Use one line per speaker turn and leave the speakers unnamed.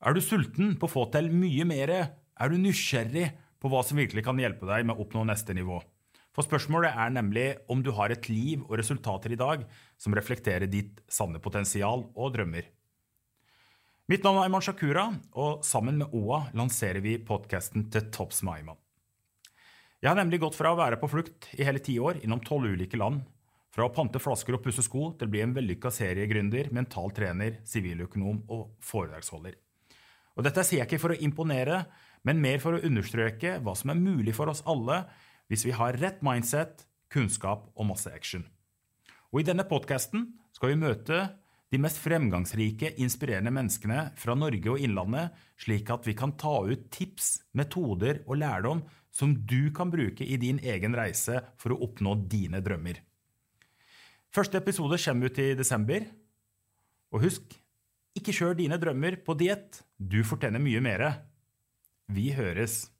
Er du sulten på å få til mye mer? Er du nysgjerrig på hva som virkelig kan hjelpe deg med å oppnå neste nivå? For spørsmålet er nemlig om du har et liv og resultater i dag som reflekterer ditt sanne potensial og drømmer. Mitt navn er Ayman Shakura, og sammen med OA lanserer vi podkasten til topps med Ayman. Jeg har nemlig gått fra å være på flukt i hele ti år innom tolv ulike land, fra å pante flasker og pusse sko til å bli en vellykka seriegründer, mental trener, siviløkonom og foredragsholder. Og dette sier jeg ikke for å imponere, men mer for å understreke hva som er mulig for oss alle hvis vi har rett mindset, kunnskap og masse action. Og i denne podkasten skal vi møte de mest fremgangsrike, inspirerende menneskene fra Norge og innlandet, slik at vi kan ta ut tips, metoder og lærdom som du kan bruke i din egen reise for å oppnå dine drømmer. Første episode kommer ut i desember. Og husk, ikke kjør dine drømmer på diett. Du fortjener mye mer. Vi høres.